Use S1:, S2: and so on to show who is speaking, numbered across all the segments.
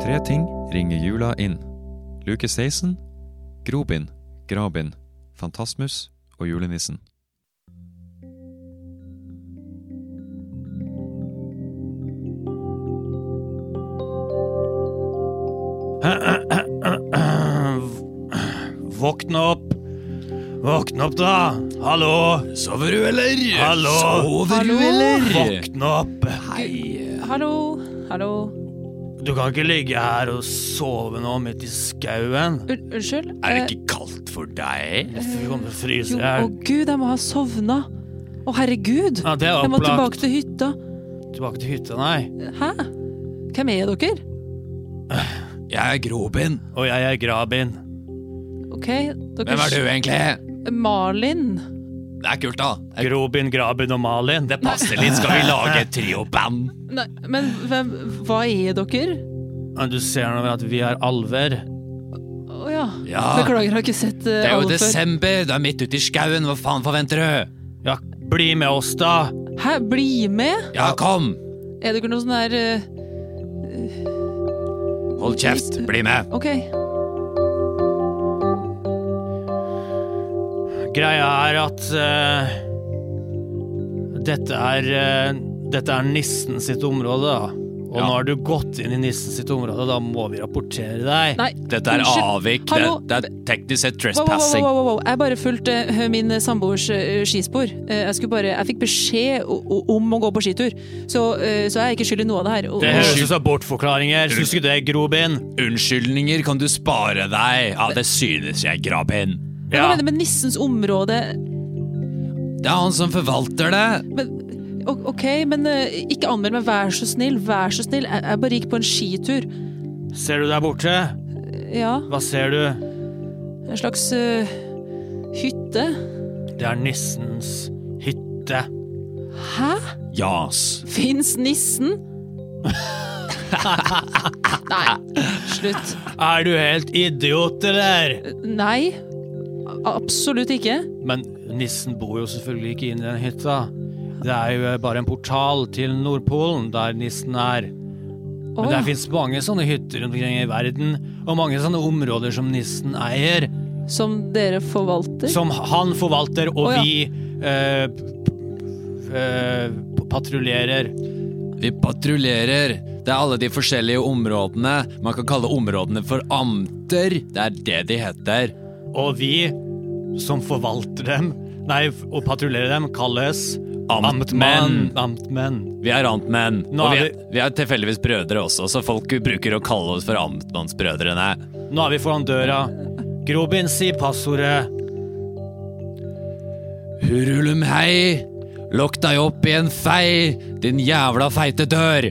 S1: tre ting ringer jula inn. Luke 16, Grobin, Grabin, Fantasmus og julenissen.
S2: Våkne opp. Våkne opp, da. Hallo.
S3: Sover du, eller?
S2: Hallo.
S3: Sover
S4: Hallo?
S3: du, eller?
S2: Våkne opp.
S3: Hei.
S4: Hallo, hallo.
S2: Du kan ikke ligge her og sove nå midt i skauen.
S4: Un- unnskyld?
S3: Er det ikke kaldt for deg?
S2: Du kommer til å
S4: Eh, jo,
S2: fryse i
S4: Å
S2: hjel.
S4: gud, jeg må ha sovna. Å herregud,
S2: Ja, det er
S4: jeg må
S2: opplagt.
S4: tilbake til hytta.
S2: Tilbake til hytta, nei.
S4: Hæ? Hvem er dere?
S3: Jeg er Grobin.
S2: Og jeg er Grabin.
S4: Ok,
S3: Hvem
S4: dere
S3: er du, egentlig?
S4: Malin.
S3: Det er kult, da. Det er-
S2: Grobin, Grabin og Malin.
S3: Det passer litt. Skal vi lage et trioband?
S4: Nei, men hvem, hva er dere?
S2: Ja, Du ser nå at vi er alver.
S4: Å ja.
S3: Ja.
S4: Beklager, jeg har ikke sett eh,
S3: Det er jo
S4: alle før.
S3: desember. Du er midt ute i skauen. Hva faen forventer du?
S2: Ja, bli med oss, da.
S4: Hæ, bli med?
S3: Ja, kom.
S4: Er dere noe sånn der eh,
S3: Hold kjeft. Bli med.
S4: Ok.
S2: Greia er at eh, dette er eh, dette er nissen sitt område, da. Og
S3: Ja.
S2: nå har du gått inn i nissen sitt område, da må vi rapportere deg.
S4: Nei,
S3: Dette er
S4: unnskyld.
S3: avvik. Det,
S4: Hallo.
S3: det er teknisk sett
S4: Wow, wow, wow,
S3: trespassing.
S4: wow, wow, wow. Jeg bare fulgte eh, min eh, samboers eh, skispor. Eh, Jeg, skulle bare, jeg fikk beskjed o- o- om å gå på skitur, så, eh, så jeg er ikke skyld i noe av det her. Og-
S2: Det
S4: og-
S2: høres ut som bortforklaringer. Syns ikke det, Grobin?
S3: Unnskyldninger kan du spare deg. Ja, det synes jeg, Grabin.
S4: Men Hva
S2: Ja.
S4: mener du med nissens område?
S3: Det er han som forvalter det.
S4: Men, o- ok, men eh, ikke anmeld meg, vær så snill. Vær så snill. Jeg, jeg bare gikk på en skitur.
S2: Ser du der borte?
S4: Ja,
S2: Hva ser du?
S4: en slags eh, hytte.
S2: Det er nissens hytte.
S4: Hæ?
S3: Jas.
S4: Fins nissen? Nei, slutt.
S2: Er du helt idiot, eller?
S4: Nei. a- Absolutt ikke.
S2: Men nissen bor jo selvfølgelig ikke inne i den hytta. Det er jo eh, bare en portal til Nordpolen, der nissen er.
S4: Å,
S2: Men
S4: ja.
S2: det fins mange sånne hytter rundt omkring i verden, og mange sånne områder som nissen eier,
S4: Som dere forvalter?
S2: som han forvalter, og
S4: Å, ja.
S2: vi eh, p- eh, patruljerer.
S3: Vi patruljerer. Det er alle de forskjellige områdene. Man kan kalle områdene for amter. Det er det de heter.
S2: Og vi som forvalter dem, nei, f- og patruljerer dem, kalles
S3: Amtmenn.
S2: Amtmenn.
S3: Vi er amtmenn.
S2: Nå
S3: Og vi
S2: er
S3: er, vi er tilfeldigvis brødre også, så folk bruker å kalle oss for amtmannsbrødrene.
S2: Nå er vi foran døra. Grobin, si passordet.
S3: Hurulumhei, lokk deg opp i en fei, din jævla feite dør.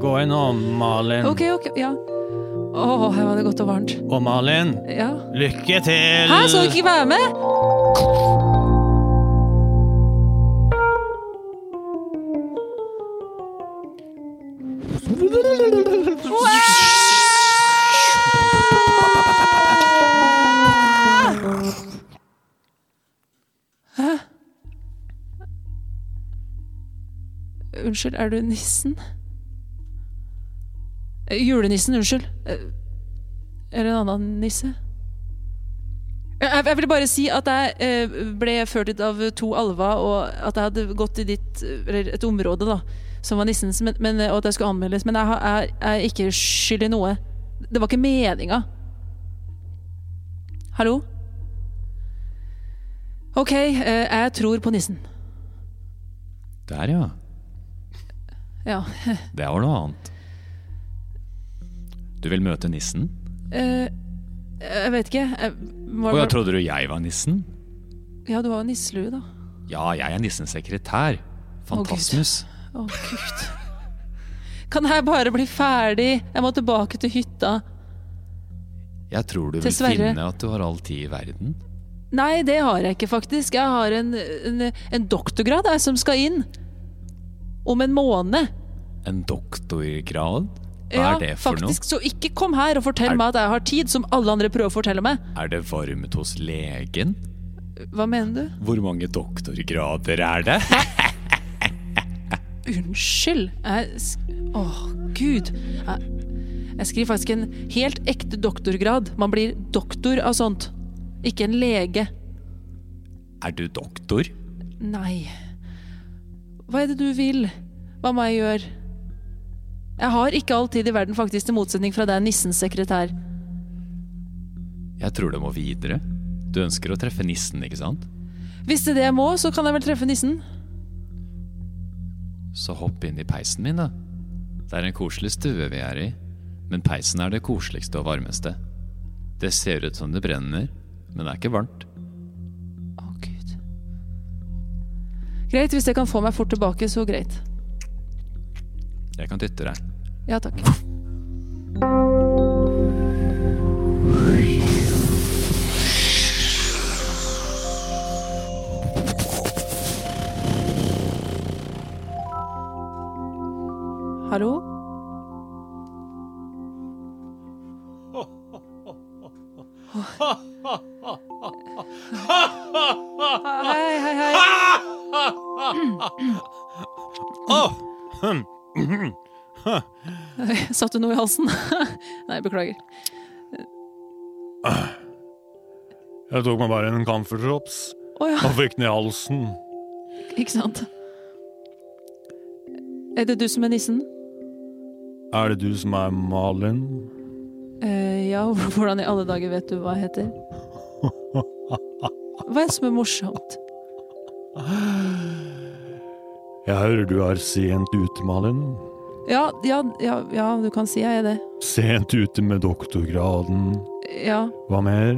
S2: Gå inn og Malin.
S4: Ok, ok, ja. Å, her var det godt og varmt.
S2: Og Malin,
S4: Ja.
S2: lykke til!
S4: Hæ, skal dere ikke være med? Hæ? Unnskyld, er du nissen? Eh, Julenissen, unnskyld. Eh, Eller en annen nisse? Jeg, jeg ville bare si at jeg eh, ble ført ut av to alver, og at jeg hadde gått i ditt, eller et område da, som var nissens, men, men, og at jeg skulle anmeldes. Men jeg, har- jeg, jeg er ikke skyld i noe. Det var ikke meninga. Hallo? OK, eh, jeg tror på nissen.
S3: Der, ja.
S4: Ja.
S3: Det var noe annet. Du vil møte nissen?
S4: Eh, jeg vet ikke. Jeg, var,
S3: Å ja, trodde du jeg var nissen?
S4: ja, du har jo nisselue, da.
S3: Ja, jeg er nissens sekretær. Fantasmus.
S4: Å, gud. Kan jeg bare bli ferdig? Jeg må tilbake til hytta.
S3: Jeg tror du vil
S4: Dessverre.
S3: finne at du har all tid i verden.
S4: Nei, det har jeg ikke, faktisk. Jeg har en, en, en doktorgrad jeg, som skal inn. Om en måned.
S3: En doktorgrad? Hva
S4: Ja,
S3: er det for
S4: faktisk. Så ikke kom her og fortell meg at jeg har tid, som alle andre prøver å fortelle meg.
S3: noe? Er det varmt hos legen?
S4: Hva mener du?
S3: Hvor mange doktorgrader er det?
S4: Unnskyld. Jeg sk- Åh, gud. Jeg, Jeg skriver faktisk en helt ekte doktorgrad. Man blir doktor av sånt. Ikke en lege.
S3: Er du doktor?
S4: Nei. Hva er det du vil? Hva må jeg gjøre? Jeg har ikke all tid i verden, faktisk, til motsetning fra deg, nissens sekretær.
S3: Jeg tror du må videre. Du ønsker å treffe nissen, ikke sant?
S4: Hvis det er det jeg må, så kan jeg vel treffe nissen.
S3: Så hopp inn i peisen min, da. Det er en koselig stue vi er i, men peisen er det koseligste og varmeste. Det ser ut som det brenner, men det er ikke varmt.
S4: Å, gud. Greit, hvis jeg kan få meg fort tilbake, så greit.
S3: Jeg kan dytte deg.
S4: Ja takk. Hallo? Hei, hei, hei. Satt du noe i halsen? Nei, beklager.
S2: Jeg tok meg bare en camphordrops
S4: Å ja.
S2: og fikk den i halsen.
S4: Ikke sant? Er det du som er nissen?
S2: Er det du som er Malin?
S4: Eh, ja, hvordan i alle dager vet du hva jeg heter? Hva er det som er morsomt?
S2: Jeg hører du er sent ute, Malin.
S4: Ja, ja, ja, ja du kan si jeg er det.
S2: Sent ute med doktorgraden.
S4: Ja,
S2: Hva mer?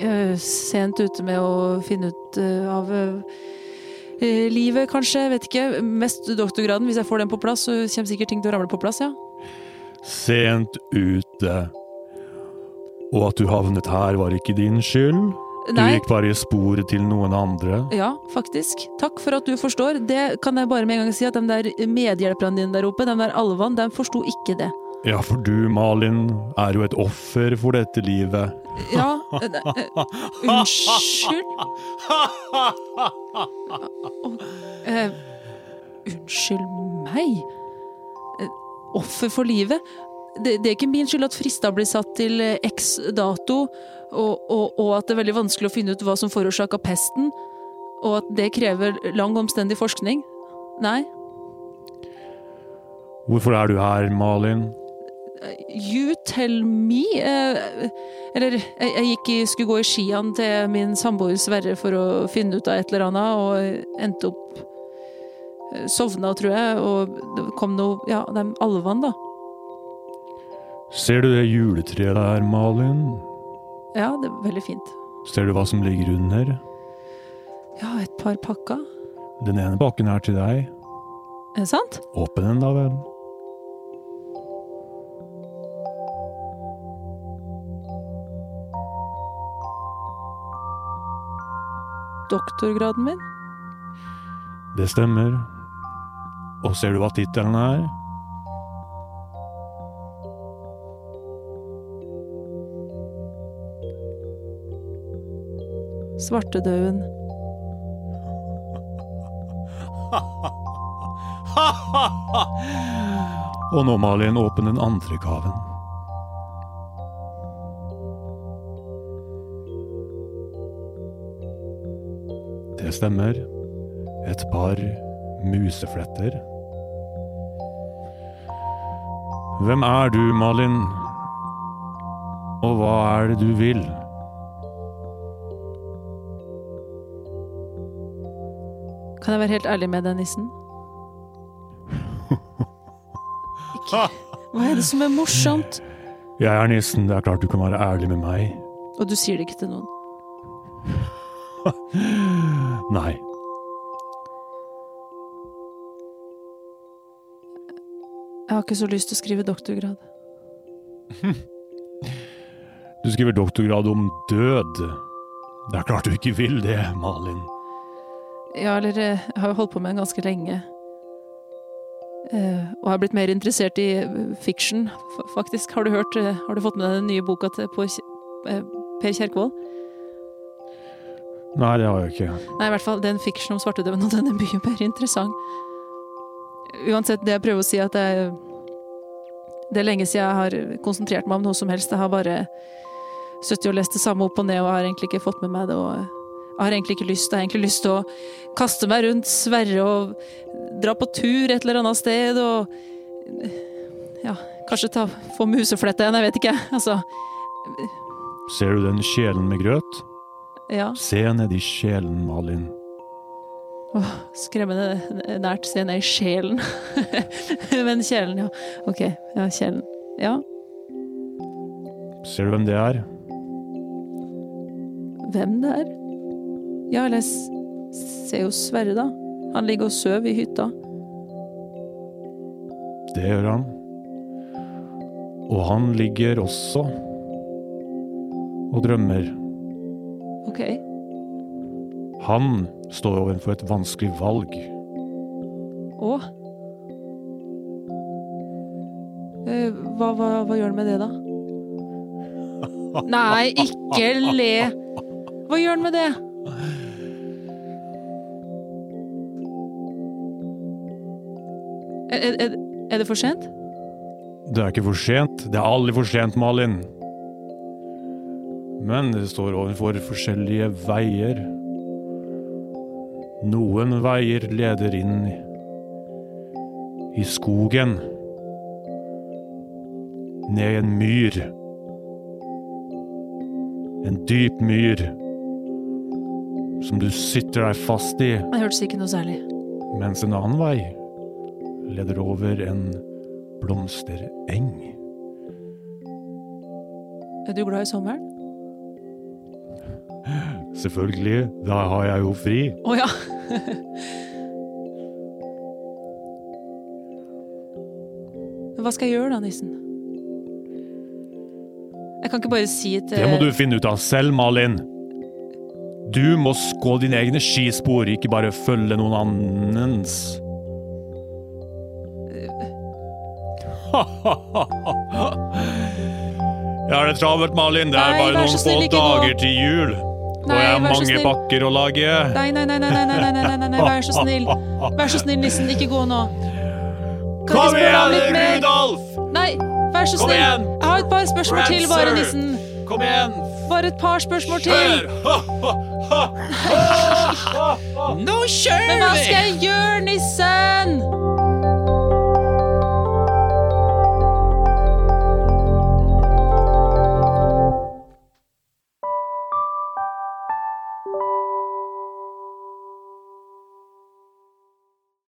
S4: eh, sent ute med å finne ut eh, av eh, livet, kanskje. Vet ikke. Mest doktorgraden. Hvis jeg får den på plass, så kommer sikkert ting til å ramle på plass, ja.
S2: Sent ute. Og at du havnet her var ikke din skyld. Du
S4: Nei.
S2: gikk bare i sporet til noen andre.
S4: Ja, faktisk. Takk for at du forstår. Det kan jeg bare med en gang si at de der medhjelperne dine der oppe, de der alvene, de forsto ikke det.
S2: Ja, for du, Malin, er jo et offer for dette livet.
S4: Ja eh, ne- eh, Unnskyld? Å, eh, unnskyld meg? Eh, offer for livet? Det, det er ikke min skyld at frister blir satt til eh, x dato, og, og, og at det er veldig vanskelig å finne ut hva som forårsaka pesten, og at det krever lang, omstendig forskning. Nei.
S2: Hvorfor er du her, Malin?
S4: You tell me eh, Eller jeg, jeg gikk i, skulle gå i skiene til min samboer Sverre for å finne ut av et eller annet, og endte opp eh, Sovna, tror jeg, og det kom noe Ja, de alvene, da.
S2: Ser du det juletreet der, Malin?
S4: Ja, det var veldig fint.
S2: Ser du hva som ligger under?
S4: Ja, et par pakker.
S2: Den ene pakken er til deg.
S4: Er det sant?
S2: Åpne den, da vel.
S4: Doktorgraden min?
S2: Det stemmer. Og ser du hva tittelen er?
S4: Svartedauden.
S2: Og nå, Malin, åpne den andre gaven. Det stemmer. Et par musefletter. Hvem er du, Malin? Og hva er det du vil?
S4: Kan jeg være helt ærlig med deg, nissen? Ikke. Hva er det som er morsomt?
S2: Jeg er nissen, det er klart du kan være ærlig med meg.
S4: Og du sier det ikke til noen.
S2: Nei.
S4: Jeg har ikke så lyst til å skrive doktorgrad.
S2: Du skriver doktorgrad om død. Det er klart du ikke vil det, Malin.
S4: Ja, eller eh, jeg har jo holdt på med den ganske lenge. Eh, og har blitt mer interessert i eh, fiction, fa- faktisk. Har du hørt eh, Har du fått med deg den nye boka til på, Kje- eh, Per Kjerkvold?
S2: Nei, det har jeg ikke.
S4: Nei, i hvert fall den fiction om svartedauden, og den er mye mer interessant. Uansett, det jeg prøver å si, er at jeg Det er lenge siden jeg har konsentrert meg om noe som helst. Jeg har bare sittet og lest det samme opp og ned og har egentlig ikke fått med meg det. og jeg har egentlig ikke lyst. Jeg har egentlig lyst til å kaste meg rundt, sverre og dra på tur et eller annet sted og Ja, kanskje ta, få musefletta igjen, jeg vet ikke. Altså,
S2: Ser du den kjelen med grøt?
S4: ja.
S2: Se nedi kjelen, Malin.
S4: Skremmende nært se ned i sjelen. Men kjelen, ja. Ok, ja, kjelen. Ja,
S2: Ser du hvem det er?
S4: hvem det er? Ja, eller jeg s- ser jo Sverre, da. Han ligger og sover i hytta.
S2: Det gjør han. Og han ligger også og drømmer.
S4: Ok.
S2: Han står overfor et vanskelig valg.
S4: Å? Eh, Hva, hva, hva gjør han med det, da? Nei, ikke le! Hva gjør han med det? Er, er, er det for sent?
S2: Det er ikke for sent. Det er aldri for sent, Malin. Men det står overfor forskjellige veier. Noen veier leder inn i skogen. Ned i en myr. En dyp myr. Som du sitter deg fast i
S4: Det hørtes ikke noe særlig.
S2: mens en annen vei leder over en blomstereng.
S4: Er du glad i sommeren?
S2: Selvfølgelig, da har jeg jo fri.
S4: Å ja. Men Hva skal jeg gjøre da, nissen? Jeg kan ikke bare si eh, til
S2: Det må du finne ut av selv, Malin. Du må gå dine egne skispor, ikke bare følge noen annens. Jeg har det travelt, Malin. Det er
S4: Nei,
S2: bare
S4: vær så
S2: noen få
S4: snill, ikke gå.
S2: dager til jul. Og
S4: Nei,
S2: jeg har
S4: vær så
S2: mange
S4: snill.
S2: bakker å lage.
S4: Nei, nei, nei, nei, nei, nei, nei, nei, nei, nei, nei, vær så snill. Vær så snill, nissen, ikke gå nå. Kan ikke
S2: Kom
S4: spørre ham
S2: igjen,
S4: litt mer?
S2: Rudolf!
S4: Nei, vær så
S2: Kom
S4: snill.
S2: igjen!
S4: Jeg har et par spørsmål til, bare,
S2: Rancer!
S4: nissen.
S2: Kom igjen!
S4: Bare et par spørsmål til.
S2: Kjør! Ha, ha, ha!
S4: Men hva skal jeg gjøre, nisse?